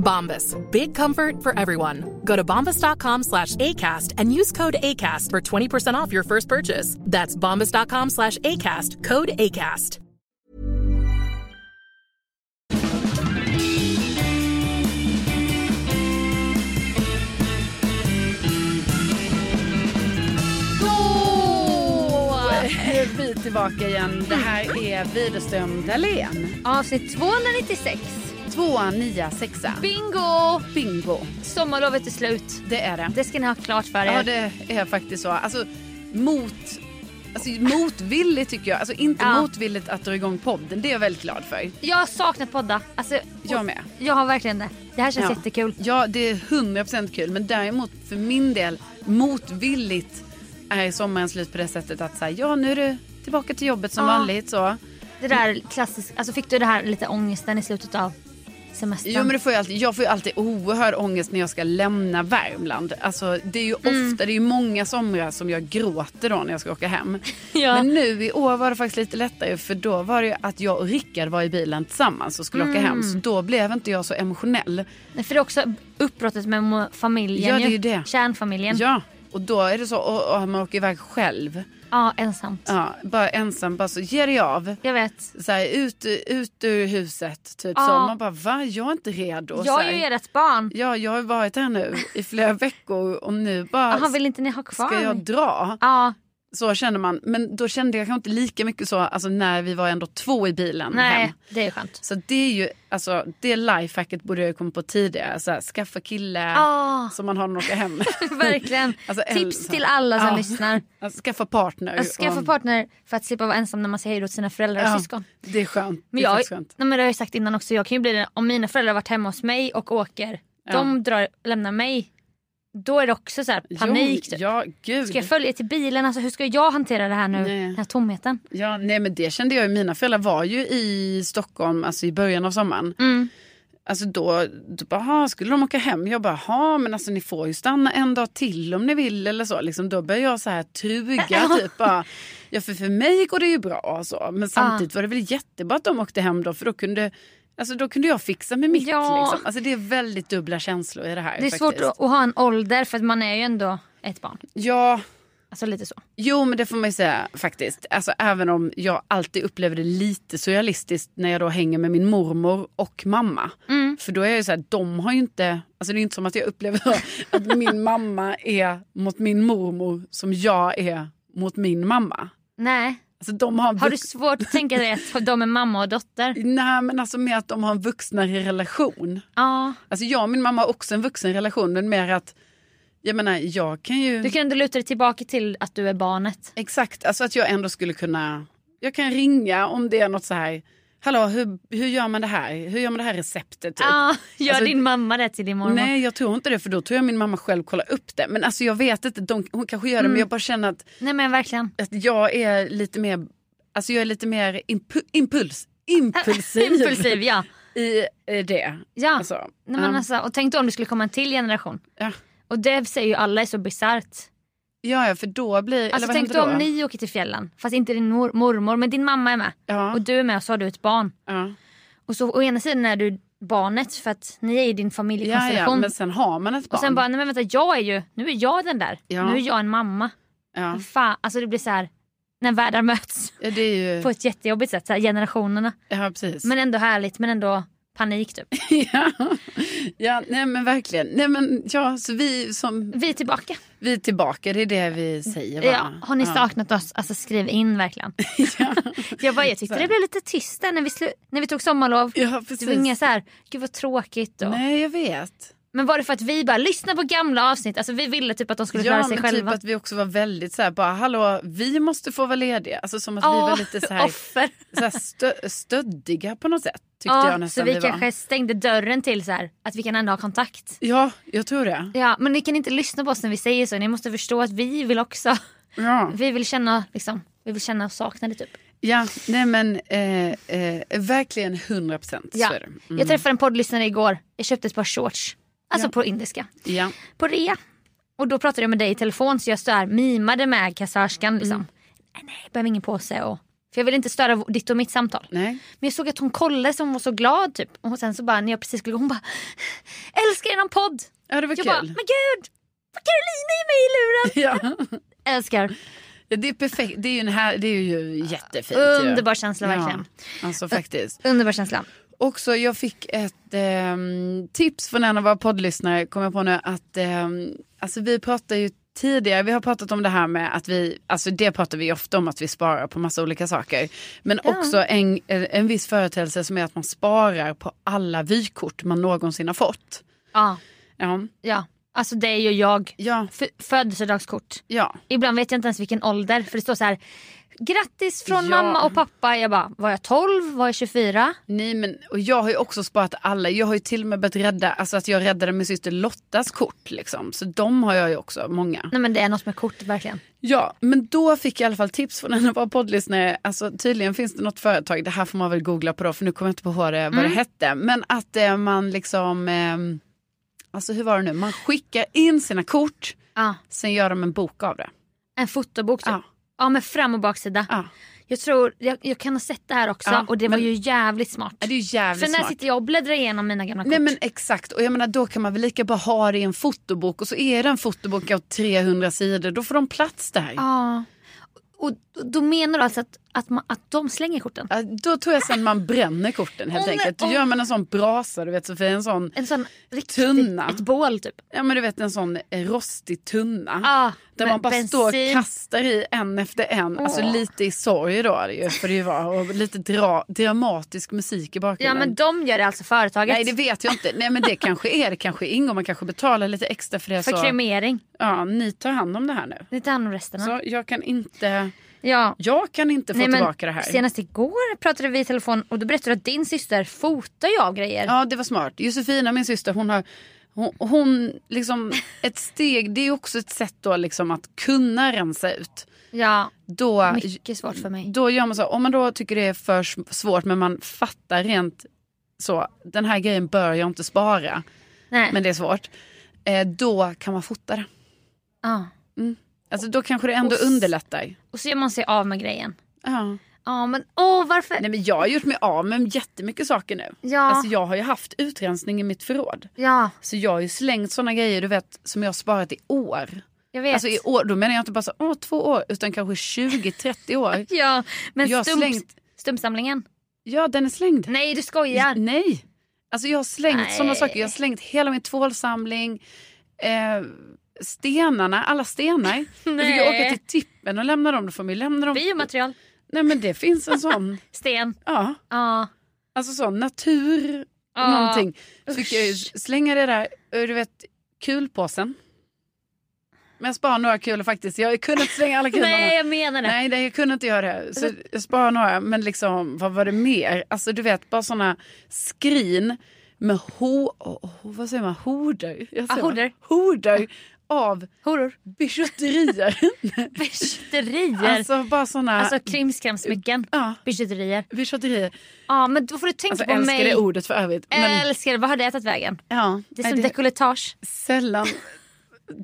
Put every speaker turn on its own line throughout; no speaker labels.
Bombas. Big comfort for everyone. Go to bombas.com slash ACAST and use code ACAST for 20% off your first purchase. That's bombas.com slash ACAST. Code ACAST.
Nu är vi tillbaka igen. Det här är Widerström Dahlén.
Avsnitt 296.
Tvåa, nia, sexa.
Bingo!
Bingo.
Sommarlovet är slut.
Det är det.
Det ska ni ha klart för
Ja,
er.
det är faktiskt så. Alltså, mot... Alltså motvilligt tycker jag. Alltså inte
Ja.
motvilligt att dra igång podden. Det är jag väldigt glad för.
Jag har saknat podda. Alltså,
Jag med.
jag har verkligen det. Det här känns
Ja.
jättekul.
Ja, det är 100% kul. Men däremot för min del, motvilligt är sommaren slut på det sättet att säga ja nu är du tillbaka till jobbet som
Ja.
vanligt så.
Det där klassiska. Alltså fick du det här lite ångesten i slutet av semestern?
Jo, men det får jag, alltid, jag får ju alltid oerhörd ångest när jag ska lämna Värmland. Alltså, det är ju
Mm.
ofta, det är ju många somrar som jag gråter då när jag ska åka hem.
Ja.
Men nu i år var det faktiskt lite lättare för då var det ju att jag och Rickard var i bilen tillsammans och skulle åka
Mm.
hem. Så då blev inte jag så emotionell.
Nej, För det är också uppbrottet med mo- familjen
Ja, det är ju det.
Kärnfamiljen. Ja,
Ja, och då är det så, och, och man åker iväg själv.
ensamt.
Ja, bara ensam, bara så ger dig av.
Jag vet.
Så här, ut, ut ur huset, typ så.
Ja.
Man bara, va? Jag är inte redo. så
jag
här.
är ju ert barn.
Ja, jag har varit här nu i flera veckor och nu bara
Jaha, vill inte ni ha kvar
ska jag
mig?
dra.
Ja,
Så känner man. Men då kände jag kanske inte lika mycket så alltså, när vi var ändå två i bilen
nej,
hem.
det är skönt.
Så det är ju, alltså det lifehacket borde jag komma på tidigare. Så här, skaffa kille
Ja.
så man har någon att åka hem med.
Verkligen.
Alltså,
Tips
ensam.
till alla som
Ja.
lyssnar.
Alltså, skaffa partner.
Att skaffa
och-
partner för att slippa vara ensam när man säger hej då till sina föräldrar och
Ja,
syskon.
Det är skönt.
Men
det är
jag,
faktiskt skönt.
nej, men det har jag ju sagt innan också, jag kan ju bli den, om mina föräldrar har varit hemma hos mig och åker, de drar, lämnar mig, då är det också så här panik.
Jo,
typ.
ja, gud.
Ska jag följa till bilen? Alltså, hur ska jag hantera det här nu?
Nej.
Den här tomheten.
Ja, nej men det kände jag ju. Mina föräldrar var ju i Stockholm alltså i början av sommaren.
Mm.
Alltså då, då bara, "Ha, skulle de åka hem? Jag bara, ja men alltså ni får ju stanna en dag till om ni vill eller så. Liksom, då började jag så här tuga typ bara, ja för, för mig går det ju bra och så. Men samtidigt var det väl jättebra att de åkte hem då för då kunde, alltså, då kunde jag fixa med mitt.
Ja.
Liksom. Alltså det är väldigt dubbla känslor i det här
Det är
faktiskt.
svårt att, att ha en ålder för att man är ju ändå ett barn.
Ja,
Alltså lite så.
Jo, men det får man ju säga faktiskt. Alltså, även om jag alltid upplever det lite surrealistiskt när jag då hänger med min mormor och mamma. För då är jag ju så här, de har ju inte... Alltså det är inte som att jag upplever då att min mamma är mot min mormor som jag är mot min mamma.
Nej.
Alltså de har... en
Har du
vux-
svårt att tänka dig att de är mamma och dotter?
Nej, men alltså med att de har en vuxnare relation.
Ja.
Alltså jag och min mamma har också en vuxen relation men mer att Jag menar, jag kan ju...
Du kan ändå luta dig tillbaka till att du är barnet.
Exakt, alltså att jag ändå skulle kunna... Jag kan ringa om det är något så här... Hallå, hur, hur gör man det här? Hur gör man det här receptet? Typ?
Ja, gör
Alltså-
din mamma det till din Ah, mormor.
Nej, jag tror inte det för då tror jag min mamma själv kollar upp det. Men alltså jag vet inte, de, hon kanske gör det
Mm.
men jag bara känner att,
Nej men verkligen.
att jag är lite mer, alltså jag är lite mer impu, impuls, impulsiv,
Impulsiv Ah. ja.
i eh, det.
ja.
Alltså,
Nej, men
ja.
alltså, och tänk då om det skulle komma en till generation.
Ja.
Och det säger ju alla är så bisarrt.
ja, ja, för då blir, eller
Alltså,
vad
tänk
händer
då
då?
om ni åker till fjällen, fast inte din mor- mormor men din mamma är med.
Ja,
Och du är med och så har du ett barn.
ja.
Och så å ena sidan är du barnet för att ni är i din
ja, ja,
familjekonstellation.
men sen har man ett barn.
och sen bara, nej men vänta jag är ju, nu är jag den där.
Ja.
Nu är jag en mamma.
ja.
Fan, alltså det blir så här när världar möts
Ja, det är ju,
på ett jättejobbigt sätt, så här, generationerna.
ja precis.
Men ändå härligt men ändå panik typ.
ja. ja, nej men verkligen. Nej men ja, så vi som,
Vi är tillbaka.
vi är tillbaka, det är det vi säger va?
Ja, har ni
Ja.
saknat oss? Alltså skriv in verkligen. jag, bara, jag tyckte det blev lite tyst där när vi, slu- när vi tog sommarlov.
Ja,
Det
precis.
var inga så här, gud vad tråkigt. Och.
Nej, jag vet.
Men var det för att vi bara lyssna på gamla avsnitt? Alltså vi ville typ att de skulle klara
Ja,
sig
men typ
själva.
att vi också var väldigt så här, bara hallå, vi måste få vara lediga. Alltså som att vi var
Ja,
lite så här,
offer.
så här stö- stöddiga på något sätt. Tyckte
Ja,
jag nästan
så vi,
vi
kanske
var.
stängde dörren till så här, att vi kan ändå ha kontakt.
Ja, jag tror det.
Ja, men ni kan inte lyssna på oss när vi säger så. Ni måste förstå att vi vill också.
Ja,
Vi vill känna liksom, vi vill känna oss saknade typ.
ja nej men eh, eh, verkligen 100 procent.
Ja.
Så är det. Mm.
Jag träffade en poddlyssnare igår. Jag köpte ett par shorts. Alltså på indiska.
Ja.
på rea. Och då pratade jag med dig i telefon så jag så här, mimade med kassörskan. Liksom. Nej, nej, jag behöver ingen påse. Och, för jag ville inte störa v- ditt och mitt samtal.
Nej.
Men jag såg att hon kollade så hon var så glad typ. Och sen så bara när jag precis skulle gå hon bara älskar er någon podd.
ja, det var
Jag bara men
kul.
gud vad Caroline är med i luren.
Ja.
Älskar.
Ja, det är perfekt. Det är ju, en här, det är ju jättefint. ju.
Underbar känsla
Ja.
verkligen.
Alltså faktiskt.
Underbar känsla.
Också, jag fick ett ehm, tips från en av våra poddlyssnare, kom jag på nu, att ehm, alltså vi pratar ju tidigare, vi har pratat om det här med att vi, alltså det pratar vi ju ofta om att vi sparar på massa olika saker. Men också en, en en viss företeelse som är att man sparar på alla vykort man någonsin har fått.
Ja,
Ja,
ja. Alltså det är ju jag.
ja,
F- födelsedagskort.
ja.
Ibland vet jag inte ens vilken ålder för det står så här grattis från
Ja.
mamma och pappa. Jag bara var jag 12? Var jag 24?
Nej men, och jag har ju också sparat alla, jag har ju till och med börjat rädda, alltså att jag räddade min syster Lottas kort liksom. Så de har jag ju också, många.
Nej men det är något med kort verkligen.
Ja, men då fick jag i alla fall tips från en av våra poddlyssnare. Alltså, tydligen finns det något företag, det här får man väl googla på då, för nu kommer jag inte på vad det, vad det hette. Men att eh, man liksom, ehm, alltså hur var det nu, man skickar in sina kort,
Ja.
sen gör de en bok av det.
En fotobok typ.
Ja.
Ja. med fram och baksida.
Ja.
Jag tror, jag, jag kan ha sett det här också
Ja,
och det var
men-
ju jävligt smart.
Ja, det är ju
För
jävligt
när
smart.
sitter jag och bläddrar igenom mina gamla kort?
Nej men exakt, och jag menar då kan man väl lika bra ha det i en fotobok och så är det en fotobok av 300 sidor, då får de plats där.
Ja. Och, och då menar du alltså att, att, man, att de slänger korten?
Ja, Då tror jag sen man bränner korten helt
Åh, nej,
enkelt. Då
åh.
gör man en sån brasa, du vet Sofie, en sån
En sån riktigt,
Tunna.
ett bål typ.
Ja men du vet en sån eh, rostig tunna.
Ja,
där
med
man bara
bensin.
står och kastar i en efter en. Alltså
Åh.
lite i sorg då är det ju. För det var och lite dra- dramatisk musik i
Ja
bakgrunden.
men de gör det alltså företaget.
Nej det vet jag inte. Nej men det kanske är det kanske ingår. Man kanske betalar lite extra för det.
För
så
kremering.
ja, ni tar hand om det här nu.
Ni tar hand om resterna.
Så jag kan inte,
Ja.
jag kan inte få
Nej, men
tillbaka det här.
Senast igår pratade vi i telefon och då berättade du att din syster fotar ju av grejer.
Ja det var smart. Josefina min syster hon har hon, hon liksom ett steg, det är också ett sätt då liksom att kunna rensa ut.
ja.
Då
Mycket svårt för mig.
Då gör man så, om man då tycker det är för s- svårt men man fattar rent så, den här grejen bör jag inte spara,
Nej.
men det är svårt. Eh, då kan man fota det.
Ja.
Alltså då kanske det ändå
Och s-
underlättar.
Och så gör man sig av med grejen.
Ja.
Ja men åh varför?
Nej men jag har gjort mig av med jättemycket saker nu.
ja.
Alltså jag har ju haft utrensning i mitt förråd.
ja,
Så jag har ju slängt sådana grejer du vet som jag har sparat i år.
jag vet.
Alltså i år, då menar jag inte bara så, åh två år, utan kanske 20-30 år.
ja, men
Jag har
stump,
slängt-
stumpsamlingen.
Ja den är slängd.
Nej du skojar.
Nej. Alltså jag har slängt
Nej.
sådana saker. Jag har slängt hela min tvålsamling. Eh, stenarna, alla stenar. Jag fick ju
Nej.
åka till tippen och lämna dem. Då får man ju lämna dem.
Biomaterial,
Nej men det finns en sån.
sten.
ja.
Ja.
Alltså sån natur.
Ja.
Någonting. Så fick jag ju
Usch.
slänga det där. Och Du vet eh, kulpåsen. Men jag sparar några kulor faktiskt. Jag kunde inte slänga alla kulorna.
Nej, jag menar det. Alltså-
Nej, nej, jag kunde inte göra det. Så jag sparar några. Men liksom, vad var det mer? Alltså du vet, bara såna skrin med ho... Oh, vad säger man? Horder? Jag
Ja,
säger
Ah, horder.
Horder av
Horor.
bijouterier.
Bijouterier. Alltså,
alltså bara såna...
krimskramsmycken.
ja,
Bijouterier.
bijouterier.
Ja, men då får du tänka
Alltså
på
älskar
mig.
det ordet för övrigt. Men,
Älskar det. Vad har det tagit vägen?
ja,
Det är
nej,
som dekolletage.
sällan...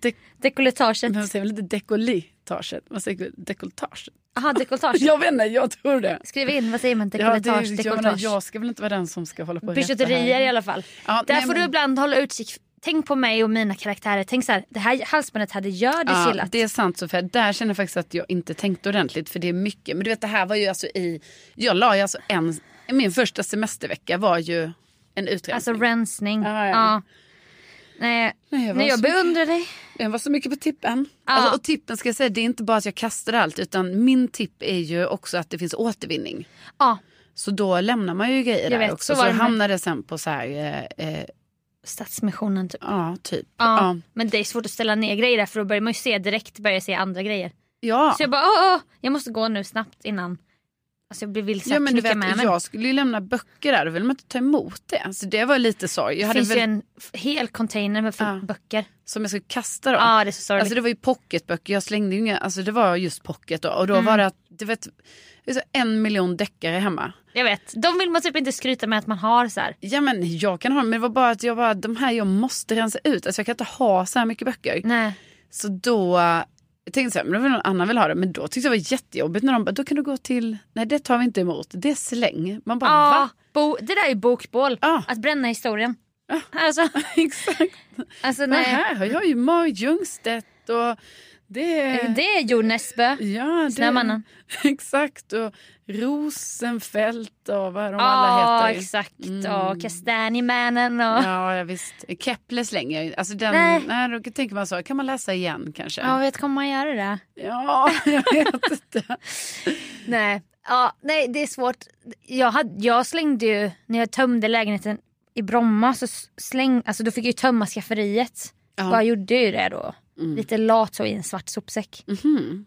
Dek, man
Dekolletaget.
säger väl inte dekolletaget? Man säger dekoltaget.
Jaha, dekolletage.
Jag vet inte, jag tror det.
Skriv in, vad säger man?
Ja,
Dekolletage,
det, jag, menar,
dekolletage.
jag ska väl inte vara den som ska hålla på och reta
Bijouterier
här.
i alla fall.
Ja,
Där
nej,
får
men-
du ibland hålla utkik. Tänk på mig och mina karaktärer. Tänk så här, det här halsbandet hade jag det
Ja,
killat.
det är sant Sofia, där känner jag faktiskt att jag inte tänkte ordentligt för det är mycket. Men du vet det här var ju alltså i, jag la ju alltså en, min första semestervecka var ju en utredning.
Alltså rensning.
Ja, ja.
Nej,
Nej, jag var
nej, jag
så-
beundrar dig.
Den var så mycket på tippen.
Ja.
Alltså, och tippen ska jag säga, det är inte bara att jag kastar allt utan min tipp är ju också att det finns återvinning.
Ja,
Så då lämnar man ju grejer
Jag
där
vet,
också.
så
Så,
var det med-
hamnar det sen på så här, eh, eh,
Stadsmissionen typ.
ja typ.
Ja.
Ja.
Men det är svårt att ställa ner grejer där för då börjar man ju se direkt börjar jag se andra grejer.
ja.
Så jag bara åh, åh, jag måste gå nu snabbt innan. Alltså jag blir vilse.
Ja, men du vet,
med mig.
jag skulle ju lämna böcker där, då ville man inte ta emot det. Så det var lite sorg. Jag
Det
hade
finns
väl,
ju en f- hel container med f-
Ja.
böcker.
Som jag skulle kasta då.
Ja det är så sorgligt.
Alltså det var ju pocketböcker, jag slängde ju inga, alltså det var just pocket då. Och då
Mm.
var det att, du vet, det är så en miljon deckare hemma.
Jag vet, de vill man typ inte skryta med att man har så här.
Ja men jag kan ha dem, men det var bara att jag bara, de här jag måste rensa ut. Alltså jag kan inte ha så här mycket böcker.
Nej.
Så då eh, jag tänkte så här, men då vill någon annan vill ha det. Men då tyckte jag det var jättejobbigt när de bara, då kan du gå till, nej det tar vi inte emot, det är släng. Man bara,
Ja,
va?
bo, det där är ju bokbål.
Ja.
Att bränna historien. Alltså,
Exakt.
alltså
Men
nej.
här har jag ju Maj Ljungstedt och det är...
Eh, Det är Jo Nesbø.
Ja, det,
Snömannen.
exakt. Och Rosenfeldt och vad de alla
Ja,
heter.
exakt.
Mm.
Och Kastanjemannen och...
Ja, ja, visst. Kepler slänger jag ju. Alltså den,
Nej.
nej. då tänker man så, kan man läsa igen kanske?
Ja,
Ja,
vet kommer man göra det?
jag vet inte.
Nej. Ja, nej, det är svårt. Jag, hade, jag slängde ju, när jag tömde lägenheten i Bromma så s- släng, alltså då fick jag ju tömma skafferiet.
Ja.
Bara gjorde ju det då.
Mm.
Lite lat så i en svart sopsäck.
Mhm.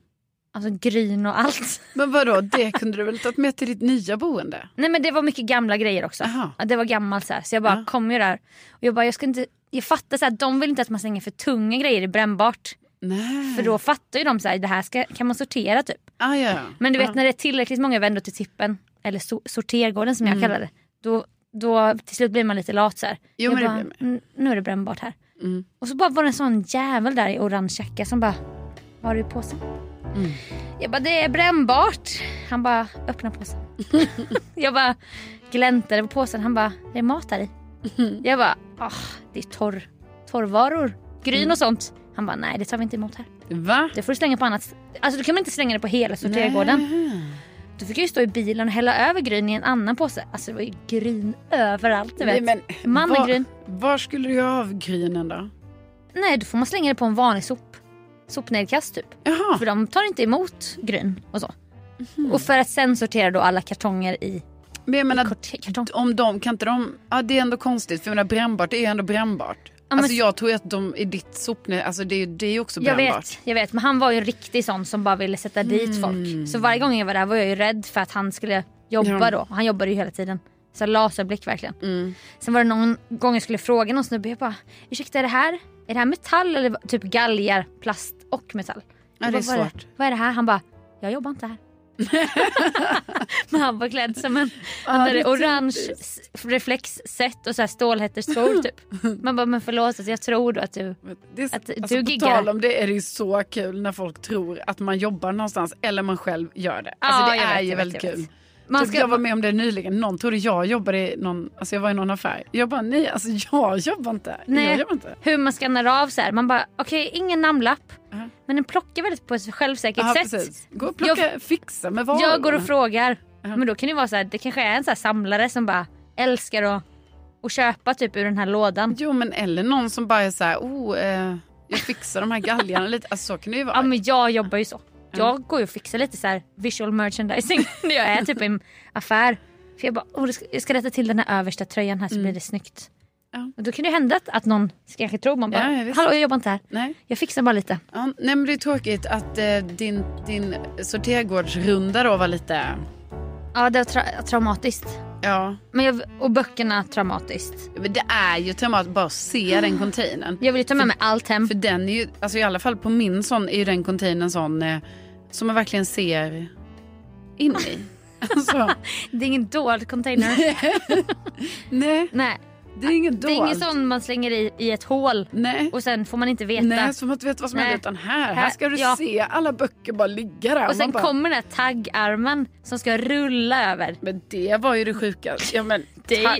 Alltså gryn och allt.
Men vadå, det kunde du väl tagit med till ditt nya boende?
Nej men det var mycket gamla grejer också.
Aha.
Ja, Det var gammalt så här. Så jag bara
Ja.
kom ju där. Och jag bara jag ska inte, jag fattar så här, de vill inte att man slänger för tunga grejer i brännbart.
Nej.
För då fattar ju de så här, det här ska, kan man sortera typ.
Ah, ja, ja.
Men du vet
ja.
när det är tillräckligt många vändor till tippen, eller so- sortergården som jag kallar det, då, då till slut blir man lite lat så här.
Mm. Jo,
jag
men det
bara,
blir
"N- nu är det brännbart här.
Mm.
Och så bara var det en sån jävel där i orange jacka som bara, vad har du i påsen?
Mm.
Jag bara, det är brännbart. Han bara, öppna påsen. jag bara gläntade på påsen, han bara, det är mat här i. jag bara, ah, det är torr, torrvaror, gryn
Mm.
och sånt. Han bara, nej det tar vi inte emot här.
Va?
Det får du slänga på annat Alltså du kan väl inte slänga det på hela sortergården? Då fick jag ju stå i bilen och hälla över gryn i en annan påse. Alltså det var ju gryn överallt du vet.
Nej, men
Man med
var-
gryn.
Var skulle du göra av grynen då?
Nej då får man slänga det på en vanlig sop. Sopnedkast typ.
Jaha.
För de tar inte emot gryn och så. Och för att sen sortera då alla kartonger i
Mhm. Men jag menar,
kort- kartong.
om de, kan inte de, ja det är ändå konstigt för jag menar brännbart är ju ändå brännbart.
men-
Alltså jag tror ju att de i ditt sopnät, alltså det är ju det är ju också
Jag
brännbart.
vet, jag vet, men han var ju en riktig sån som bara ville sätta
Mm.
dit folk. Så varje gång jag var där var jag ju rädd för att han skulle jobba
Ja. Mm.
då. Han jobbade ju hela tiden. Så laserblick verkligen. Sen var det någon gång jag skulle fråga någon snubbe, jag bara ursäkta är det här, är det här metall eller vad- typ galgar, plast och metall? Jag
det är
bara, vad
svårt.
Vad är det här? Han bara, jag jobbar inte här. men han var klädd som en, han
Ja, det
hade
är
orange s- reflexset och så här stålhätterskor typ. Man bara, men förlåt alltså, jag tror då att du
Det är,
Att
alltså,
du
på
giggar.
tal om det är det ju så kul när folk tror att man jobbar någonstans eller man själv gör det. Alltså
Ja,
det
jag
är
vet,
ju
jag vet,
väldigt
jag vet.
kul.
Man
typ,
ska-
jag var med om det nyligen, någon trodde jag jobbade i någon, alltså jag var i någon affär. Jag bara nej, alltså jag jobbar inte. här. Jag
Nej.
jobbar inte. här.
hur man skannar av så här. Man bara, okej ingen namnlapp.
Ja.
Men den plockar väldigt på ett självsäkert
Uh-huh. Ja,
sätt.
precis. Gå och plocka, fixa med varorna.
Jag går och frågar.
Ja. Uh-huh.
Men då kan det vara så här, det kanske är en så här samlare som bara älskar att, att köpa typ ur den här lådan.
Jo men eller någon som bara är så här, oh, eh, jag fixar de här galgarna lite. Alltså så kan det ju vara.
Ja men jag jobbar ju så. Jag går ju och fixar lite så här visual merchandising när jag är typ i en affär. För jag bara, oh, jag ska- jag ska rätta till den här översta tröjan här så blir det snyggt.
Mm. Ja.
Och då kan det hända att, att någon kanske tror man bara,
Ja, ja, visst.
hallå jag jobbar inte här,
Nej.
jag fixar bara lite.
Ja, nej men det är tråkigt att eh, din, din sortergårdsrunda då var lite...
Ja det var tra- traumatiskt.
Ja,
Men jag, och böckerna traumatiskt.
men det är ju traumatiskt bara att se den containern.
Jag vill ju ta med mig allt hem.
För den är ju, alltså i alla fall på min sån är ju den containern sån eh, som man verkligen ser in i. Alltså,
Det är ingen dold container.
nej,
Nej,
det är inget
det är ingen
dolt.
sån man slänger i, i ett hål
Nej.
och sen får man inte veta.
Nej, så man inte vet vad som
Nej.
händer. Utan här, här
Här-
ska du
ja.
se alla böcker bara ligga där.
och sen
Man bara,
kommer den här taggarmen som ska rulla över.
Men det var ju det sjuka. Ja, men,
Det-
ta-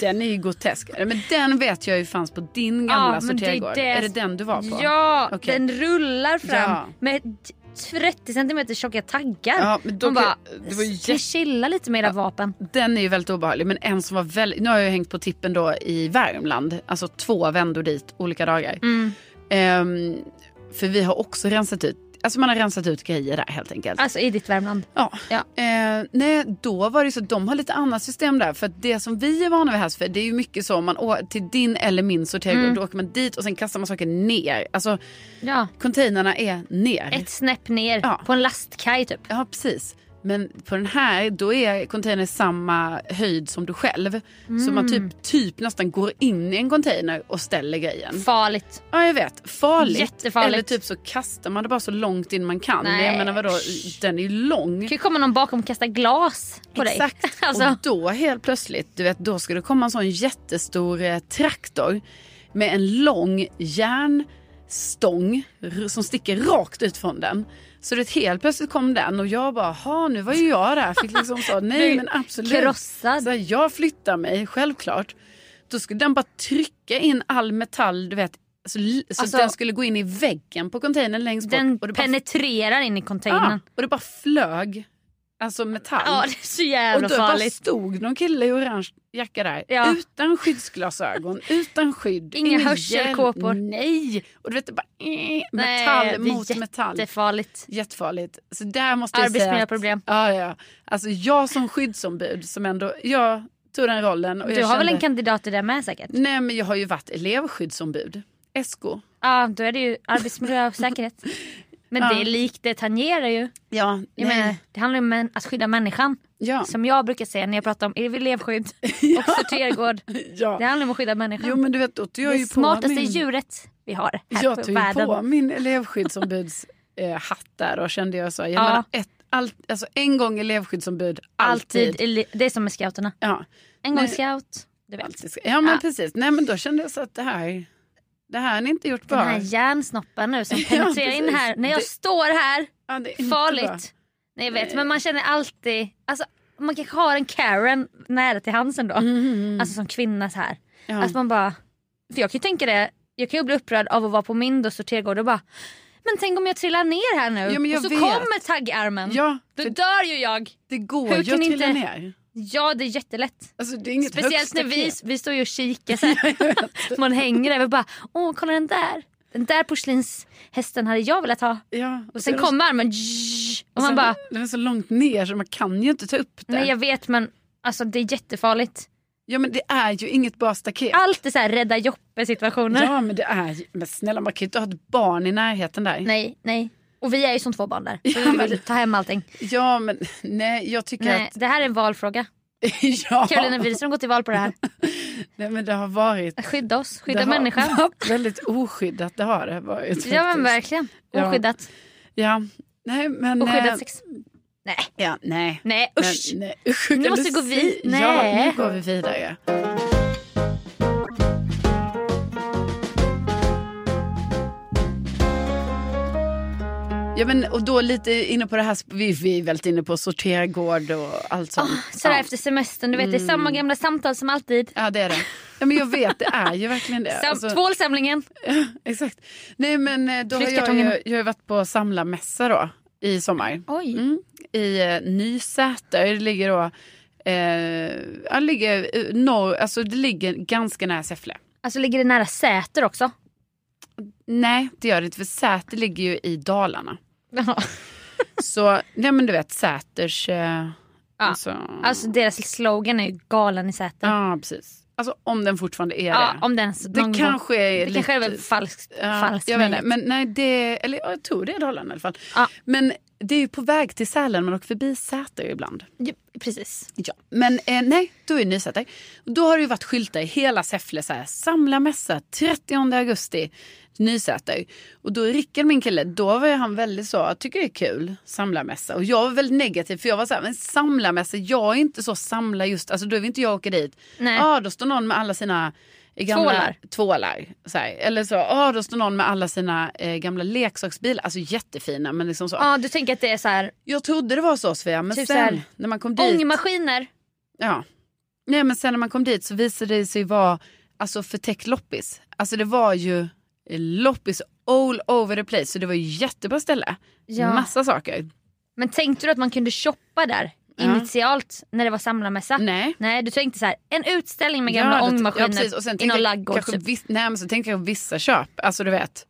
Den är ju grotesk. Nej, Men den vet jag ju fanns på din gamla
Ja, men det är
sortergård.
det-
Är det den du var på?
Ja,
Okej.
den rullar fram
Ja.
med t- 30 centimeter tjocka taggar.
Ja, men då
Man
kan-
bara,
det var ju
"Ska vi chilla lite med era vapen.
Den är ju väldigt obehaglig. Men en som var väldigt... Nu har jag ju hängt på tippen då i Värmland. Alltså två vändor dit olika dagar.
Mm.
Ehm, för vi har också rensat ut. Alltså man har rensat ut grejer där helt enkelt.
Alltså i ditt Värmland.
Ja.
Ja.
Eh, nej, då var det så att de har lite annat system där. För att det som vi är vana vid här, för det är ju mycket så om man å- till din eller min sortering
Mm.
då åker man dit och sen kastar man saker ner. Alltså
Ja.
containrarna är ner.
Ett snäpp ner
Ja.
på en lastkaj typ.
Ja, precis. Men på den här, då är containern samma höjd som du själv. Så man
Mm.
typ, typ nästan går in i en container och ställer grejen.
Farligt.
Ja, jag vet. Farligt.
Jättefarligt.
Eller typ så kastar man det bara så långt in man kan.
Nej.
Jag menar vadå, den är ju lång.
Det kan ju komma någon bakom och kasta glas på dig.
Exakt.
Alltså,
Och då helt plötsligt, du vet, då ska det komma en sån jättestor eh, traktor med en lång järnstång r- som sticker rakt ut från den. Så det helt plötsligt kom den och jag bara, ha nu var ju jag där. Fick liksom så, nej
Du
men absolut.
krossad.
Så här, jag flyttar mig, självklart. Då skulle den bara trycka in all metall, du vet. Så, li- så
Alltså-
den skulle gå in i väggen på containern längst
den
bort. Och det bara, Ah.
penetrerar in i
ja,
containern.
och det bara flög, alltså metall.
Ja, det är så
Och
jävla
då bara
farligt.
stod någon kille i orange jacka där.
Ja.
Utan skyddsglasögon, utan skydd.
Inga
ingen
hörselkåpor.
hjälm, Nej! Och du vet, det bara eh,
Nej,
metall
det är
mot metall.
Jättefarligt.
Jättefarligt. Så där måste jag säga att-
Arbetsmiljöproblem.
Ja, ja. Alltså jag som skyddsombud som ändå, jag tog den rollen. Och
Du
jag
har väl
kände- Mm.
en kandidat i det med säkert? Ja,
Nej men jag har ju varit elevskyddsombud. SK.
då är det ju arbetsmiljö och säkerhet. Men
Ja.
det är likt, det tangerar ju.
Ja,
Jag menar, det handlar ju om en- att skydda människan.
ja.
Som jag brukar säga när jag pratar om elevskydd och sortergård. Det
ja.
handlar om att skydda människan.
Jo men du vet, då tog jag
det
ju på
smartaste
min...
djuret vi har här
jag
på
tog ju
världen.
på min elevskyddsombuds eh, hatt där och kände jag så. Jag
Ja.
menar, ett, allt, alltså en gång elevskyddsombud, alltid.
Alltid. ele- Det är som med scouterna.
Ja,
En gång
Nej.
scout, du vet.
alltid. ska- ja men
Ja.
precis. Nej men då kände jag så att det här, det här har ni inte gjort bra.
Den här järnsnoppen nu som
Ja,
penetrerar in
precis.
här. När jag
Det-
står här,
ja, det är inte bra.
farligt. Nej, jag vet, men man känner alltid... Alltså, man kanske har en Karen nära till hands ändå. Alltså som kvinna så här.
Mm, Ja.
Alltså man bara... För jag kan ju tänka det, jag kan ju bli upprörd av att vara på min då, sortergård och bara men tänk om jag trillar ner här nu
Ja, men jag
och så
vet.
kommer taggarmen.
Ja,
Då
för
dör ju jag.
det går
hur
ju att
kan ni
trilla
inte-
ner.
Ja det är jättelätt.
Alltså, det är inget
Speciellt
högsta
när vi,
knep.
vi står ju och kikar så här. Man hänger där och bara åh kolla den där. Den där porslinshästen hade jag velat ha.
Ja,
Och sen
så-
kommer armen och man
sen-
bara
Den är så långt ner så man kan ju inte ta upp det.
Nej jag vet men alltså det är jättefarligt.
Ja men det är ju inget bra staket.
Allt är så här rädda Joppe situationer.
Ja men det är ju, men snälla man kan ju inte ha ett barn i närheten där.
Nej, nej. Och vi är ju som två barn där. Så
Ja,
vi
men-
vill ta hem allting.
Ja men nej jag tycker
Nej,
att
det här är en valfråga.
ja.
Karolina Widerström går till val på det här.
Nej men det har varit...
Skydda oss,
det
skydda
har
människan.
varit väldigt oskyddat det har det varit. Faktiskt.
Ja men verkligen.
Ja.
Oskyddat.
Ja. Nej men... eh,
Oskyddat sex. Nej,
Ja, nej.
nej
Men,
usch.
nej. Usch,
Nu
kan du
måste vi gå
se-
vid-
Ja,
nej.
nu går vi vidare. Ja men och då lite inne på det här, vi, vi är väldigt inne på sortergård och allt sånt.
Sådär
ja.
Ah, efter semestern, du vet det är
Mm.
samma gamla samtal som alltid.
ja det är det. Ja men jag vet, det är ju verkligen det.
Sam-
Alltså-
Tvålsamlingen.
Ja, exakt. Nej men eh, då har jag, ju,
Flyttkartongerna.
jag har ju varit på samlarmässa då i sommar.
Oj.
Mm. I eh, Nysäter, det ligger då, eh, ja, det ligger eh, norr, alltså det ligger ganska nära Säffle.
Alltså ligger det nära Säter också?
Nej det gör det inte för Säter ligger ju i Dalarna.
Ja.
Så, nej men du vet Säters, eh,
Ja.
alltså,
Alltså deras slogan är ju galen i Säter.
ja precis. Alltså om den fortfarande är
Ja,
det.
om den så-
det
någon gång-
kanske är
Det
lite...
kanske är väl falskt.
Ja,
falskt
jag vet inte,
möjligt.
men nej det, eller ja, jag tror det är Dalarna i alla fall.
Ja.
Men det är ju på väg till Sälen, man åker förbi Säter ibland.
Ja, precis.
Ja. Men eh, nej, då är det Nysäter. Då har det ju varit skyltar i hela Säffle så här, samla mässa 30 augusti, Nysäter. Och då är Rickard min kille, då var ju han väldigt så, jag tycker det är kul, samla mässa. Och jag var väldigt negativ för jag var så här, men samla mässa, jag är inte så samla just, alltså då vill inte jag åka dit.
Nej.
Ja, då står någon med alla sina eh, gamla
Tvålar.
tvålar, så här. Eller så, ja då står någon med alla sina eh, gamla leksaksbilar, alltså jättefina men liksom så.
Ja, du tänker att det är så här,
Jag trodde det var så Sofia, men
Typ så
sen
här,
när man kom dit.
ångmaskiner.
Ja. Nej men sen när man kom dit så visade det sig vara alltså förtäckt loppis. Alltså det var ju loppis all over the place. Så det var ju jättebra ställe.
Ja.
Massa saker.
Men tänkte du att man kunde shoppa där initialt när det var samlarmässa?
Nej.
Nej, du tänkte så här, en utställning med gamla
Ja, det- ja,
ångmaskiner
precis. Och sen
i någon
tänkte jag
laggård.
kanske
Typ.
viss- Nej men så tänkte jag vissa köp. Alltså du vet.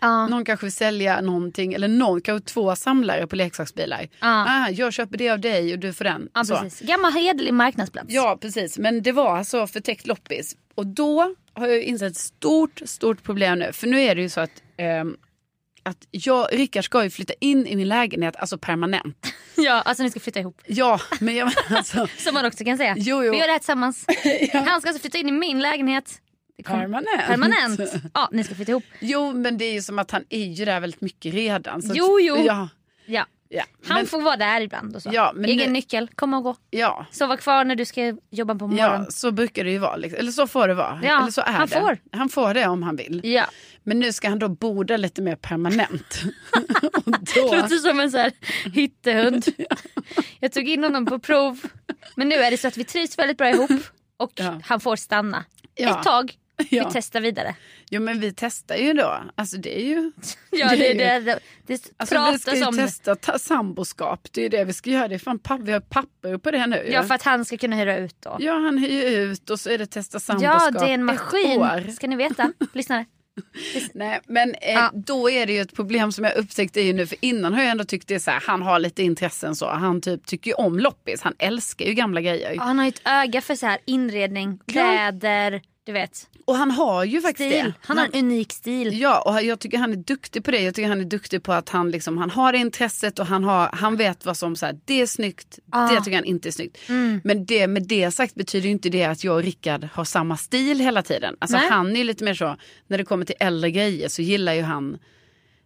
Ja.
Någon kanske vill sälja någonting. Eller någon, kanske två samlare på leksaksbilar.
Ja.
Ah, jag köper det av dig och du får den.
Ja,
Så.
precis. Gammal hederlig marknadsplats.
Ja, precis. Men det var alltså förtäckt loppis. Och då har jag insett ett stort, stort problem nu. För nu är det ju så att, ehm, att jag, Rickard ska ju flytta in i min lägenhet, alltså permanent.
ja, alltså ni ska flytta ihop.
Ja, men jag menar alltså
Som man också kan säga.
Jo, jo.
Vi gör det här tillsammans. Han ska alltså flytta in i min lägenhet. Det kommer-
permanent.
Permanent. Ja, ni ska flytta ihop.
Jo, men det är ju som att han är ju där väldigt mycket redan. Så
Jo, jo.
Ja,
Ja.
ja.
Han
men,
får vara där ibland och så.
Ja, men
Egen
nu-
nyckel, kom och gå.
ja.
Sova kvar när du ska jobba på
Ja,
morgonen.
så brukar det ju vara. Liksom. Eller så får det vara.
Mm. Ja,
Eller så är
han
det.
får.
Han får det om han vill.
Ja.
Men nu ska han då bo där lite mer permanent. och
Det
då...
låter som en så här hyttehund. Jag tog in honom på prov. Men nu är det så att vi trivs väldigt bra ihop och
Ja.
han får stanna.
Ja.
Ett tag.
Ja.
Vi testar vidare.
Jo men vi testar ju då. Alltså det är ju...
Ja,
Det
det,
är ju-
det, det, det
Alltså vi ska
pratas
ju
om det.
testa ta- samboskap. Det är ju det vi ska göra. Det är fan papp- vi har papper på det nu ju.
Ja, för att han ska kunna hyra ut då.
ja han hyr ju ut och så är det testa
Ja,
samboskap.
det är en
Ett
maskin.
år.
Ska ni veta, lyssnare.
Nej men eh,
Ja.
då är det ju ett problem som jag upptäckte är ju nu. För innan har jag ändå tyckt det är så här. Han har lite intressen så. Han typ tycker ju om loppis. Han älskar ju gamla grejer.
Ja, han har ju ett öga för så här inredning, kläder, du vet.
Och han har ju faktiskt
Stil.
det.
Han har en unik stil.
Ja, och jag tycker han är duktig på det. Jag tycker han är duktig på att han, liksom, han har det intresset och han, har, han vet vad som så här, det är snyggt, det tycker han inte är snyggt.
Mm.
Men det, med det sagt betyder ju inte det att jag och Rickard har samma stil hela tiden. Alltså
Nej.
han är ju lite mer så, när det kommer till äldre grejer så gillar ju han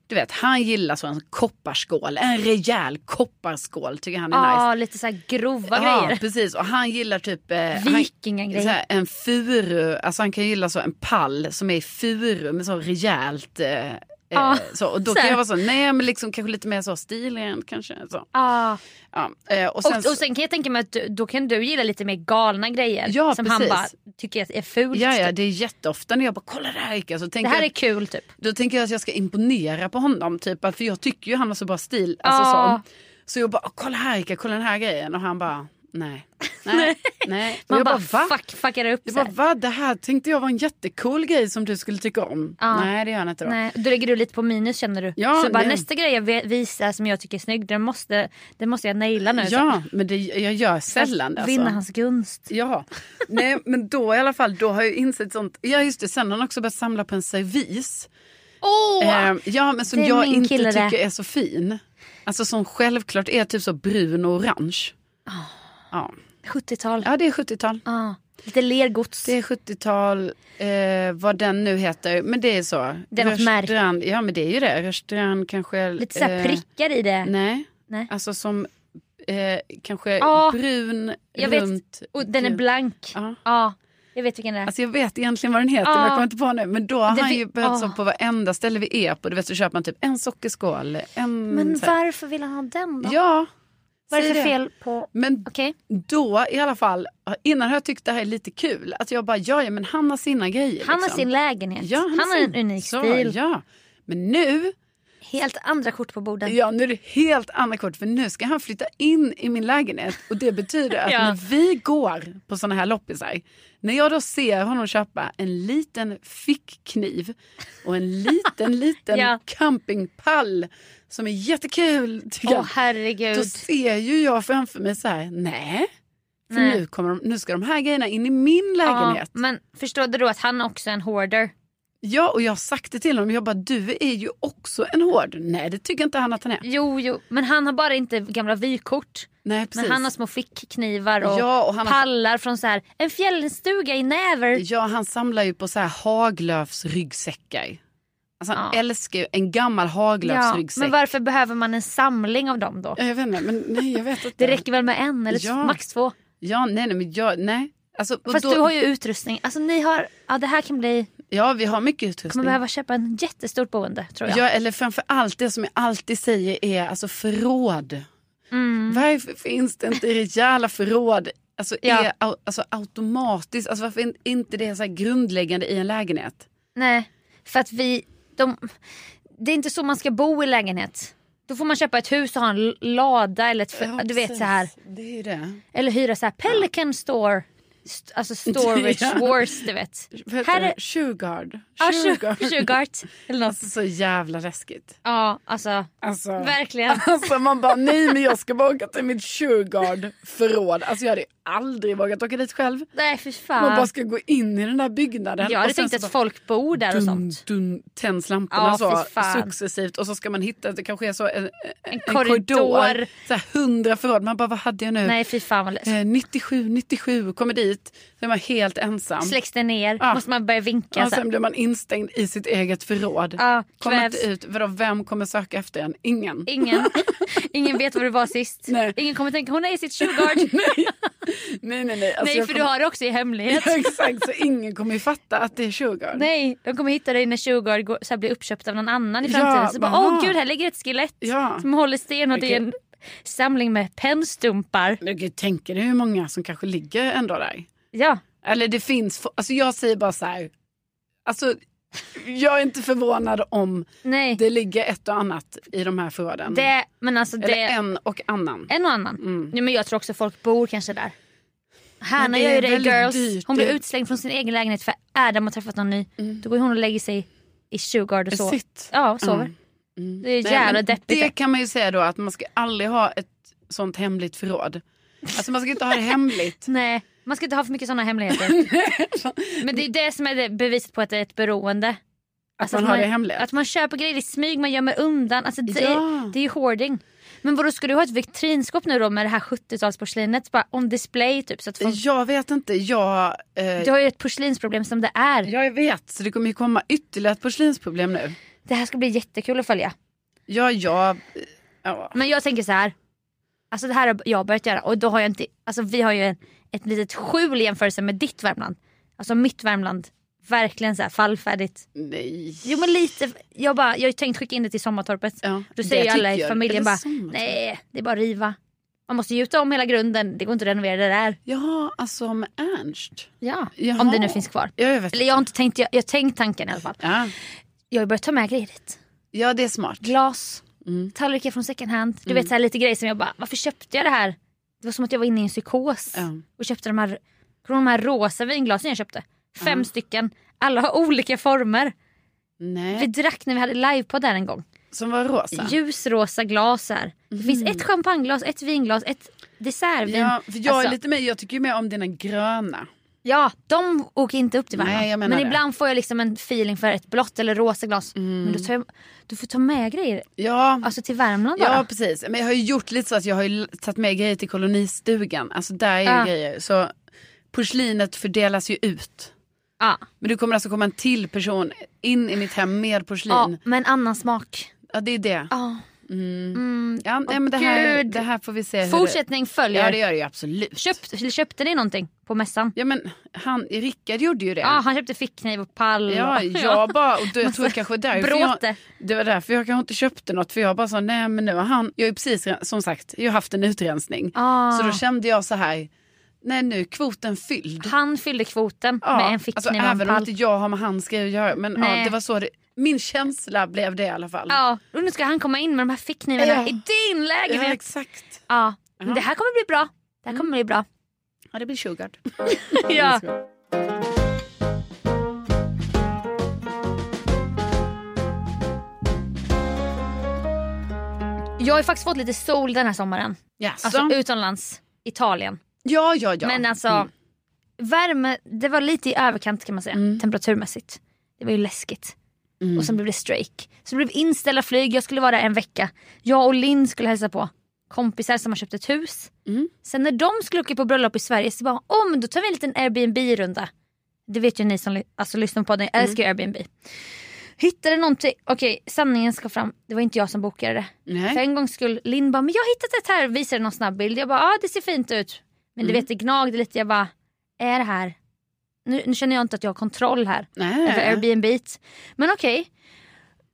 du vet, han gillar så en kopparskål, en rejäl kopparskål tycker han är nice.
Ja, lite så här grova
Ja,
grejer.
precis. Och han gillar typ... eh, han-
Vikingagrejer.
så här, En furu, alltså han kan gilla så en pall som är i furu med så rejält... Eh, eh,
Ja,
så, och då
så här.
kan jag vara så, nej men liksom kanske lite mer så stilrent kanske. Så.
Ja.
Ja, eh, och sen,
Och, och sen kan jag tänka mig att du, då kan du gilla lite mer galna grejer
Ja,
som
precis.
han bara tycker är fult.
ja, ja,
typ.
det är jätteofta när jag bara kollar det här Rickard. Så
det
tänker
här
jag,
är kul typ.
Då tänker jag att jag ska imponera på honom typ, att- för jag tycker ju han har så bra stil. Alltså,
Ja.
så. så jag bara, kolla här Rickard, kolla den här grejen. Och han bara, nej. Nej, nej. Och
Man
jag
bara,
"Va?"
fuck, fuckar upp
Jag
så
bara, va?
här.
Det här tänkte jag var en jättecool grej som du skulle tycka om.
Ja.
Nej, det gör han inte då.
Nej, då lägger du lite på minus känner du.
Ja,
så bara,
det-
nästa grej jag vi- visar som jag tycker är snygg, den måste, den måste jag naila nu. så.
Ja, men det, jag gör sällan det.
Vinna
Alltså.
hans gunst.
Ja, nej men då i alla fall, då har jag insett sånt. Ja just det, sen har han också börjat samla på en servis.
Åh!
Ehm, ja men som
det är
jag
min
inte
kille det.
tycker är så fin. Alltså som självklart är typ så brun och orange. Ja.
70-tal.
ja, det är 70-tal.
Ja. Lite lergods.
Det är 70-tal, eh, vad den nu heter. Men det är så.
Det är något märke.
Rörstrand- Ja men det är ju det. Rörstrand kanske.
Lite så här
eh,
prickar i det.
Nej.
Nej.
Alltså som eh, kanske
Ja,
brun,
jag vet.
runt.
Och den är
gul.
blank.
Ja.
Ja, jag vet vilken det är.
Alltså jag vet egentligen vad den heter men
Ja.
jag kommer inte på nu. Men då har
Det
han
vi-
ju börjat
ja.
så på varenda ställe vi är på. Du vet så köper man typ en sockerskål. En,
Men
mm, så här-
varför vill han ha den då?
Ja.
Vad är
säg
det för
det.
fel på...
Men
Okej.
då i alla fall, innan har jag tyckt det här är lite kul. Att jag bara, ja, ja men han har sina grejer.
Han har
liksom.
sin lägenhet.
ja,
han, har
sin-
en unik
så,
stil.
Ja. Men nu
Helt andra kort på borden.
Ja, nu är det helt annat kort för nu ska han flytta in i min lägenhet och det betyder att
Ja.
när vi går på sådana här loppisar, när jag då ser honom köpa en liten fickkniv och en liten, liten
Ja.
campingpall som är jättekul, tycker
Åh
jag. Då
herregud.
ser ju jag framför mig så här, nej, För
Nej.
nu, kommer de, nu ska de här grejerna in i min lägenhet.
Ja, men förstod du att han också är en hoarder?
Ja, och jag har sagt det till honom. Jag bara, du är ju också en hård. Nej, det tycker inte han att han är.
Jo, jo, men han har bara inte gamla vykort.
Nej, precis.
Men han har små fickknivar och,
Ja, och han har-
pallar från så här en fjällstuga i Näver.
Ja, han samlar ju på så här Haglöfs ryggsäckar. Alltså han
Ja.
älskar ju en gammal Haglöfs
Ja,
ryggsäck.
men varför behöver man en samling av dem då?
Ja, Jag vet inte, men nej jag vet inte.
Det räcker väl med en eller
Ja.
max två?
Ja, nej, nej, men jag, nej. Alltså, och
Fast
då-
du har ju utrustning. Alltså ni har, ja det här kan bli,
Ja, vi har mycket
kommer
utrustning.
behöva köpa en jättestort boende tror jag.
Ja, eller framför allt det som jag alltid säger är alltså förråd.
Mm.
Varför finns det inte rejäla förråd? Alltså,
Ja.
är, au- alltså automatiskt, alltså varför är inte det så här grundläggande i en lägenhet?
Nej, för att vi, de, det är inte så man ska bo i lägenhet. Då får man köpa ett hus och ha en l- lada eller ett, för-
Ja,
du vet
precis.
så här.
Det är ju det.
Eller hyra så här Pelican store. St- alltså storage
Ja.
wars du vet.
Vad heter
Här
det?
är-
Shugard.
Ja, Shugart. Eller något.
Alltså så jävla läskigt.
Ja, alltså
Alltså.
verkligen.
Alltså man bara nej men jag ska bara åka till mitt Shugard förråd. Alltså jag hade ju aldrig vågat åka dit själv.
Nej fy
Man bara
fan.
ska gå in i den där byggnaden.
Jag hade
och sen
tänkt
så
att
bara
folk bor där och
dun,
sånt.
dun, tänds lamporna
Ja, fy
så
fan.
successivt och så ska man hitta, det kanske är så en, en, en
korridor.
Så här, hundra förråd. Man bara vad hade jag nu?
Nej fy fan vad läskigt.
Eh, 97, 97, kommer dit. Så är man helt ensam.
Släcks det ner
Ja.
måste man börja vinka.
Ja,
så här.
sen blir man instängd i sitt eget förråd.
Ja,
kommer
kvävs.
inte ut. Vadå, vem kommer söka efter en? Ingen.
Ingen, ingen vet var du var sist.
Nej.
Ingen kommer tänka hon är i sitt Shugard.
nej, nej, nej. nej. Alltså,
Nej
jag
för
kommer-
du har det också i hemlighet.
Ja, Exakt, så ingen kommer ju fatta att det är sugar.
Nej, de kommer hitta dig när Shugard går, så här blir uppköpt av någon annan i
Ja,
framtiden. så bara,
aha.
åh gud, här ligger ett skelett
Ja.
som håller sten och det är en samling med pennstumpar.
Men gud, tänker du hur många som kanske ligger ändå där?
Ja,
Eller det finns, fo- alltså jag säger bara så här. Alltså, jag är inte förvånad om
nej. Det,
det ligger ett och annat i de här förråden.
men alltså det,
Eller
en,
en och annan.
och annan.
Mm.
Ja, men jag tror också folk bor kanske där. Hanna
det
gör
är
ju det i
väldigt
Girls.
dyrt.
Hon blir
Det- Mm.
utslängd från sin egen lägenhet för Adam har träffat någon ny. Då går hon och lägger sig i Shugard och
Det
sover.
Sitt.
Ja, och sover.
Mm. Mm.
Det är
Nej,
jävla
men
deppigt.
Det kan man ju säga då att man ska aldrig ha ett sånt hemligt förråd. Alltså man ska inte ha det hemligt.
Nej, man ska inte ha för mycket sådana hemligheter. men det är det som är det beviset på att det är ett beroende. Alltså
man har det hemligt.
Att man köper grejer i smyg, man gömmer undan. Alltså det,
Ja.
är, det är ju hoarding. Men vadå, ska du ha ett vitrinskåp nu då med det här 70-talsporslinet? Bara on display typ. Så att folk,
Jag vet inte, jag... Eh,
Du har ju ett porslinsproblem som det är.
Ja, jag vet. Så det kommer ju komma ytterligare ett porslinsproblem nu.
Det här ska bli jättekul att följa.
Ja, jag... Ja.
Men jag tänker så här. Alltså det här har jag börjat göra och då har jag inte, alltså vi har ju en, ett litet skjul i jämförelse med ditt Värmland. Alltså mitt Värmland, verkligen så här fallfärdigt.
Nej.
Jo men lite, jag, bara, jag har ju tänkt skicka in det till sommartorpet.
Ja,
Då
det
säger ju alla
tycker
i
jag.
familjen
Eller
bara,
sommartorp.
nej det är bara att riva. Man måste gjuta om hela grunden, det går inte att renovera det där.
Ja, alltså med Ernst.
Ja.
Jaha.
Om det nu finns kvar.
Ja, jag vet.
Eller jag har inte tänkt, jag, jag har tänkt tanken i alla fall.
Ja.
Jag har börjat ta med grejer dit.
ja, det är smart.
Glas,
Mm.
tallrikar från second hand. Du vet så här, lite grejer som jag bara, varför köpte jag det här? Det var som att jag var inne i en psykos.
Ja.
Och köpte de här, kommer du ihåg de här rosa vinglasen jag köpte? Fem stycken. Alla har olika former. Vi
Nej,
drack när vi hade livepodd här en gång.
som var rosa.
ljusrosa glas här. Det finns ett champagneglas, ett vinglas, ett dessertvin.
Mm. Ja, för jag, är
Alltså,
lite mer, jag tycker ju mer om dina gröna.
ja, de åker inte upp till
Nej,
varandra.
jag
Men
menar det.
ibland får jag liksom en feeling för ett blått eller rosa glas. Men
Mm.
då tar jag, du får ta med grejer
Ja,
alltså till Värmland bara.
ja, precis. Men jag har ju gjort lite så att jag har ju tagit med grejer till kolonistugan. Alltså där är ju
Ja.
grejer. Så porslinet fördelas ju ut.
Ja.
Men det kommer alltså komma en till person in i mitt hem med porslin.
Ja,
Ja,
med en annan smak.
det är det.
Ja. Mm.
Ja, nej,
Åh,
men det, här,
gud.
det här får vi se. hur
Fortsättning
Det,
följer.
ja, det gör det ju absolut.
Köpt, köpte ni någonting på mässan?
Ja, men han, Rickard gjorde ju det.
Ja, han köpte fickkniv och pall.
Ja,
och,
jag bara, och då, jag tror
Ah, Massa
kanske därför jag,
Bråte.
det var därför jag kanske inte köpte något för jag bara sa nej men nu har han, jag är precis re- som sagt, jag har haft en utrensning.
Ah.
Så då kände jag så här, nej nu är kvoten fylld.
Han fyllde kvoten
Ja,
med en
alltså,
fickkniv och en
även om
pall.
inte jag har med hans grejer att göra men ja,
Nej.
det var så det, min känsla blev det i alla fall.
Ja, och nu ska han komma in med de här fickknivarna
Ja.
i din
Ja,
lägenhet.
exakt.
Ja, men
Ja. Mm.
det här kommer bli bra. Det här kommer bli bra.
Ja det blir Shugard.
Ja. Jag har ju faktiskt fått lite sol den här sommaren.
Jaså?
Alltså utomlands. Italien.
Ja, ja, ja.
Alltså, Men alltså,
Mm.
värme, det var lite i överkant kan man säga,
Mm.
temperaturmässigt. Det var ju läskigt.
Mm.
Och sen blev det strejk. Så det blev inställda flyg, jag skulle vara där en vecka. Jag och Linn skulle hälsa på kompisar som har köpt ett hus.
Mm.
Sen när de skulle åka på bröllop i Sverige så bara, om men då tar vi en liten Airbnb-runda. Det vet ju ni som ly- alltså, lyssnar på podden, jag
Mm.
älskar ju Airbnb. Hittade någonting, okej sanningen ska fram, det var inte jag som bokade det. För
Nej.
en gång skulle Linn bara, men jag har hittat ett här, visade någon snabb bild. Jag bara, ja ah, det ser fint ut. Men du
Mm.
vet det gnagde lite, jag bara, är det här? Nu, nu känner jag inte att jag har kontroll här över
Nej.
Airbnb. Men okej.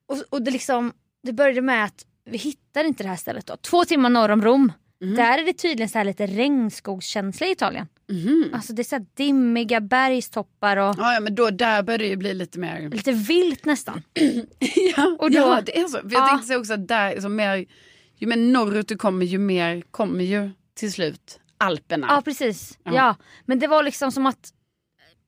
Och, och det, liksom, det började med att vi hittar inte det här stället då. Två timmar norr om Rom.
Mm.
Där är det tydligen så här lite regnskogskänsla i Italien.
Mhm.
Alltså det är så här dimmiga bergstoppar och
Ja, ja, men då, där börjar det ju bli lite mer...
lite vilt nästan.
ja,
Och då-
ja, det är så. För jag
Ja.
tänkte säga också att där, liksom, mer, ju mer norrut du kommer, ju mer kommer ju till slut Alperna.
Ja precis.
Ja.
Ja. Men det var liksom som att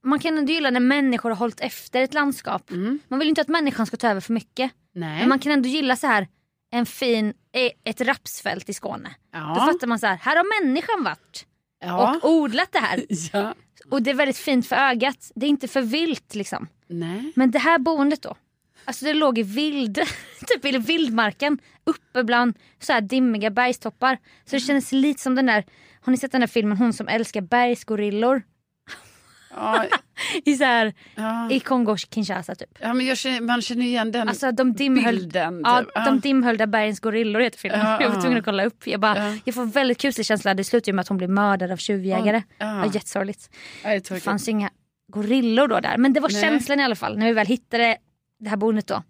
man kan ändå gilla när människor har hållit efter ett landskap.
Mm.
Man vill ju inte att människan ska ta över för mycket.
Nej.
Men man kan ändå gilla så här en fin, eh, ett rapsfält i Skåne. Då
ja.
fattar man så här, här har människan varit
Ja.
och odlat det här.
ja.
Och det är väldigt fint för ögat. Det är inte för vilt liksom.
Nej.
Men det här boendet då. Alltså det låg i vild, typ i vildmarken. Uppe bland så här dimmiga bergstoppar. Så det
Mm.
kändes lite som den där, har ni sett den där filmen Hon som älskar bergsgorillor?
Ja.
I så här,
Ja.
i Kongo-Kinshasa typ.
Ja, men jag känner, man känner igen den.
Alltså de dimhöljda,
Mm. Bilden,
ja,
typ. Ah,
de dimhöljda bergens gorillor heter filmen.
Ja,
jag
ja.
var tvungen att kolla upp. Jag, bara,
Ja.
jag får väldigt kuslig känsla. Det slutar ju med att hon blir mördad av tjuvjägare.
ja.
Ja, jättesorgligt.
Ja, det är
Det
tråkigt.
fanns ju inga gorillor då där. Men det var
Nej.
känslan i alla fall när vi väl hittade det här boendet då.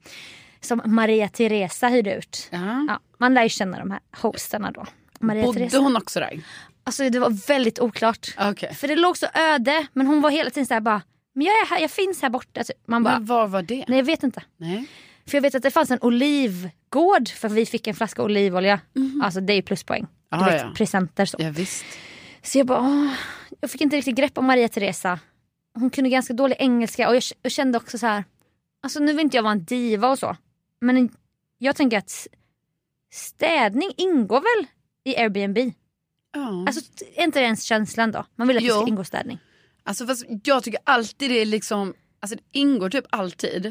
Som Maria Teresa hyrde ut.
Ja.
Ja, man lär ju känna de här hostarna då. Maria
Bodde
Teresa.
hon också där?
Alltså det var väldigt oklart.
Okej.
För det låg så öde men hon var hela tiden så här bara. Men jag är här, jag finns här borta. typ. Man bara,
Men vad var det?
nej jag vet inte.
Nej.
För jag vet att det fanns en olivgård för vi fick en flaska olivolja.
Mhm.
Alltså det är ju pluspoäng. Du
Ah,
vet
ja.
presenter så.
Ja, visst.
Så jag bara, åh. jag fick inte riktigt grepp om Maria Teresa. Hon kunde ganska dålig engelska och jag, jag kände också så här. Alltså nu vill inte jag vara en diva och så. Men en- jag tänker att s- städning ingår väl i Airbnb?
Mm. Ja.
Alltså t- är inte det ens känslan då? Man vill att det
Jo.
ska ingå städning.
Alltså fast jag tycker alltid det är liksom, alltså det ingår typ alltid.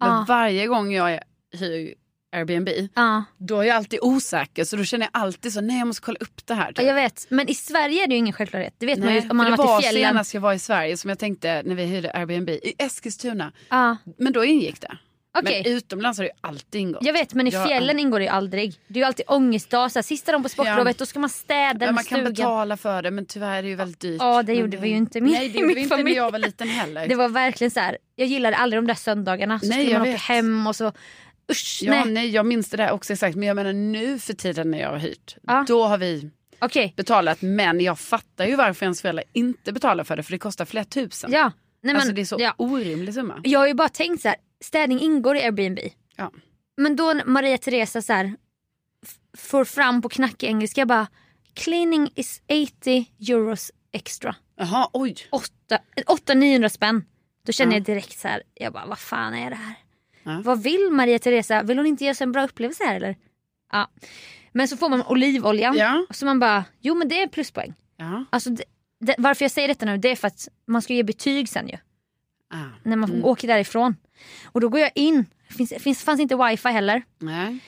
Men
Ja.
varje gång jag hyr Airbnb,
Ja.
då är jag alltid osäker så då känner jag alltid så nej jag måste kolla upp det här. typ.
ja, jag vet. Men i Sverige är det ju ingen självklarhet. Det vet man
Nej,
ju om man
för
har
det var
varit i fjällen.
senast jag var i Sverige som jag tänkte när vi hyrde Airbnb i Eskilstuna.
Ja.
Men då ingick det.
Okej.
Men utomlands har det ju alltid ingått.
Jag vet men i
Ja,
fjällen ingår det ju aldrig. Det är ju alltid ångestdag. Så här, sista dagen på sportlovet då ska man städa
men
den
man kan
stugan.
betala för det men tyvärr är det ju väldigt dyrt.
Ja, det
Men
gjorde vi ju inte i min-
Nej det
i
gjorde
min
vi inte när
familj.
jag var liten heller.
Det var verkligen så här. jag gillade aldrig de där söndagarna. Så
Nej,
skulle
jag
man åka
vet.
hem och så usch
Ja, nej.
nej.
jag minns det där också exakt. Men jag menar nu för tiden när jag har hyrt,
Ja.
då har vi
Okej,
betalat. Men jag fattar ju varför ens föräldrar inte betalar för det, för det kostar flera tusen.
ja. Nej, men,
alltså det är så
ja.
orimlig summa.
Jag har ju bara tänkt så här. städning ingår i Airbnb.
Ja.
Men då när Maria Teresa så här, f- får fram på knackig engelska jag bara cleaning is 80 euros extra.
Jaha, oj.
800-900 spänn. Då känner
Ja.
jag direkt så här, jag bara vad fan är det här?
Ja.
Vad vill Maria Teresa? Vill hon inte ge oss en bra upplevelse här eller? Ja. Men så får man olivoljan.
Ja.
Så man bara, jo men det är pluspoäng.
ja.
Alltså, det, det, varför jag säger detta nu det är för att man ska ge betyg sen ju.
Ah.
När man åker därifrån. Och då går jag in, finns, finns, fanns inte wifi heller.
Nej.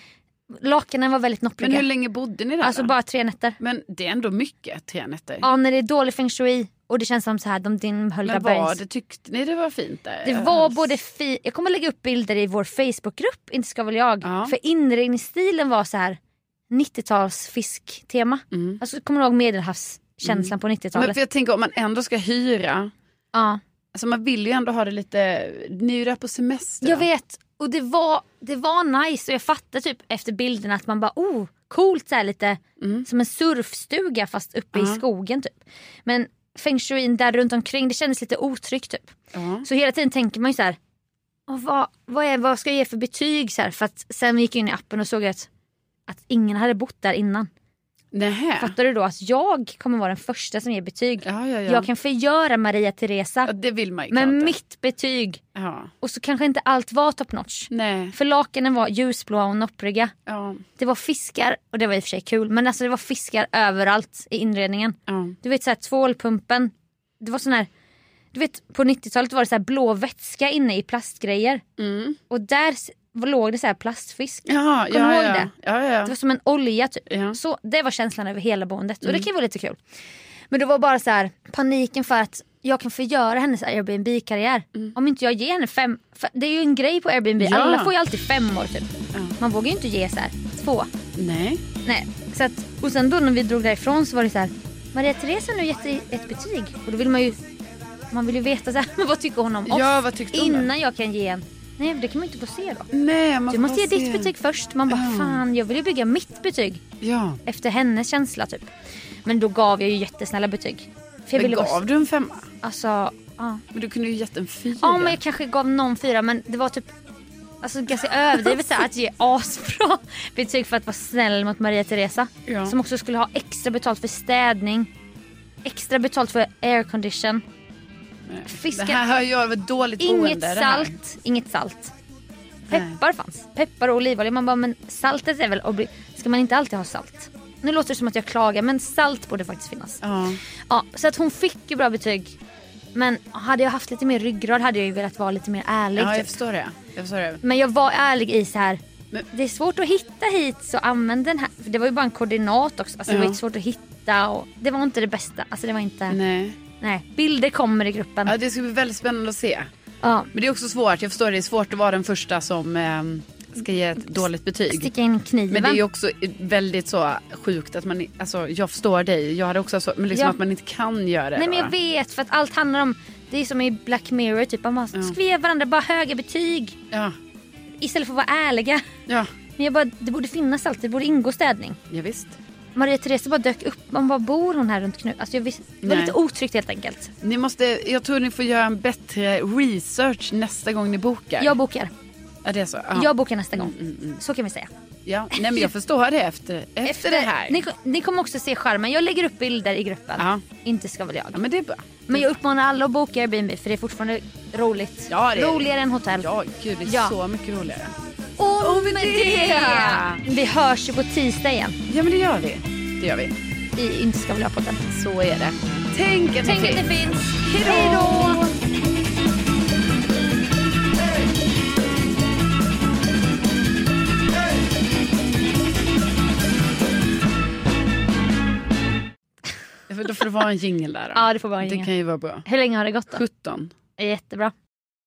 Lakanen var väldigt
Men hur
noppliga.
länge bodde ni där
Alltså
då?
bara tre nätter.
Men det är ändå mycket, tre nätter.
Ja när det är dålig feng shui och det känns som så här, de dimhöljda
men var
bergens...
det, tyckte ni det var fint där? Alltså,
Det var både fi- Jag kommer lägga upp bilder i vår Facebookgrupp, inte ska väl jag.
Ja.
För inredningsstilen var så här 90-tals fisktema.
Mm.
Alltså kommer du ihåg medelhavskänslan på
Men
90-talet?
för jag tänker om man ändå ska hyra,
Ja.
alltså man vill ju ändå ha det lite, ni är ju där på semester.
Jag vet. Och det var, det var nice och jag fattade typ efter bilderna att man bara oh coolt så här lite
Mm.
som en surfstuga fast uppe
Ja.
i skogen typ. Men feng shuin där runt omkring det kändes lite otryggt typ.
Ja.
Så hela tiden tänker man ju så här. "Åh, vad, vad, är, vad ska jag ge för betyg? Så här, för att sen gick jag in i appen och såg att, att ingen hade bott där innan.
Nähä.
Fattar du då att jag kommer vara den första som ger betyg.
Ja, ja, ja.
Jag kan förgöra Maria Teresa
ja, det vill man ju
med
klart.
mitt betyg.
Ja.
Och så kanske inte allt var top notch.
Nej.
För lakanen var ljusblåa och noppriga.
Ja.
Det var fiskar, och det var i och för sig kul, men alltså det var fiskar överallt i inredningen.
Ja.
Du vet så här tvålpumpen. Det var sån här, du vet på 90-talet var det så här blå vätska inne i plastgrejer.
Mm.
Och där s- låg det så här plastfisk.
Ja,
Kommer
ja,
du ihåg
ja.
det?
Ja, ja, ja.
Det var som en olja typ.
Ja. Mm.
Så det var känslan över hela boendet och det kan ju vara lite kul. Men det var bara så här paniken för att jag kan förgöra hennes Airbnb-karriär. Om inte jag ger henne fem, för det är ju en grej på Airbnb,
Mm. Ja.
alla får ju alltid fem år typ.
Ja.
Man vågar ju inte ge så här två.
Nej.
Nej. Så att, och sen då när vi drog därifrån så var det så här. Maria Therese har nu gett dig ett betyg. Och då vill man ju, man vill ju veta så här, men vad tycker hon om oss?
Ja, vad tyckte hon då?
Innan jag kan ge en. Nej det kan man ju inte få se då.
Nej, man
Du
får
måste ge
se.
ditt betyg först. Man bara
Ja.
fan jag vill ju bygga mitt betyg
Ja.
efter hennes känsla typ. Men då gav jag ju jättesnälla betyg. För
Men
jag ville bara,
gav du en femma?
Alltså, ja.
Men du kunde ju gett en fyra.
ja men jag kanske gav någon fyra men det var typ Alltså ganska överdrivet så här, att ge asbra betyg för att vara snäll mot Maria Teresa.
Ja.
Som också skulle ha extra betalt för städning. Extra betalt för aircondition.
Det
Fiskar.
här hör jag, det var dåligt boende.
Inget
det här.
salt. Inget salt. Peppar fanns. Peppar och olivolja. Man bara men saltet är väl obli- Ska man inte alltid ha salt? Nu låter det som att jag klagar men salt borde faktiskt finnas.
Ja.
Ja, så att hon fick ju bra betyg. Men hade jag haft lite mer ryggrad hade jag ju velat vara lite mer ärlig.
ja, jag
typ.
förstår det. Jag förstår det.
Men jag var ärlig i så här.
Men-
Det är svårt att hitta hit så använd den här. För det var ju bara en koordinat också. Alltså, Det var
Ja.
inte svårt att hitta och det var inte det bästa. Alltså det var inte. Nej.
Nej.
Bilder kommer i gruppen.
Ja, det ska bli väldigt spännande att se.
Ja.
Men det är också svårt, jag förstår det är svårt att vara den första som ehm, ska ge ett dåligt betyg.
Sticka in kniven.
Men det är ju också väldigt så sjukt att man, alltså jag förstår dig, jag hade också så, men liksom
Ja.
att man inte kan göra det.
Nej men
då.
jag vet för att allt handlar om. Det är som i Black Mirror typ. Man bara,
Ja.
ska vi ge varandra bara höga betyg.
Ja,
Istället för att vara ärliga.
ja,
Men jag bara, det borde finnas allt. Det borde ingå städning.
ja visst.
Maria Therese bara dök upp. Man bara, bor hon här runt knuten? Alltså jag visste, det var
Nej.
lite otryggt helt enkelt.
Ni måste, jag tror ni får göra en bättre research nästa gång ni bokar.
Jag bokar.
ja, det är så. Ja.
Jag bokar nästa gång. Så kan vi säga.
ja. Nej men jag förstår det efter, efter, det här.
Ni, ni kommer också se skärmen. Jag lägger upp bilder i gruppen.
Ja.
Inte ska väl jag.
Ja men det är bra.
Men jag uppmanar alla att boka Airbnb för det är fortfarande roligt.
Ja, det är-
Roligare än hotell.
Ja gud det är
Ja.
så mycket roligare.
Och, med
det!
det! Vi hörs ju på tisdag igen
Ja men det gör vi. Det gör vi.
i Inte ska väl jag podden.
Så är det. Tänk att
Tänk
ni
att det finns.
Hejdå!
Hej då!
Ja, för Då får det vara en jingel där. då.
Ja, det får vara en
Det
jingel.
kan ju vara bra.
Hur länge har det gått då?
17.
Jättebra.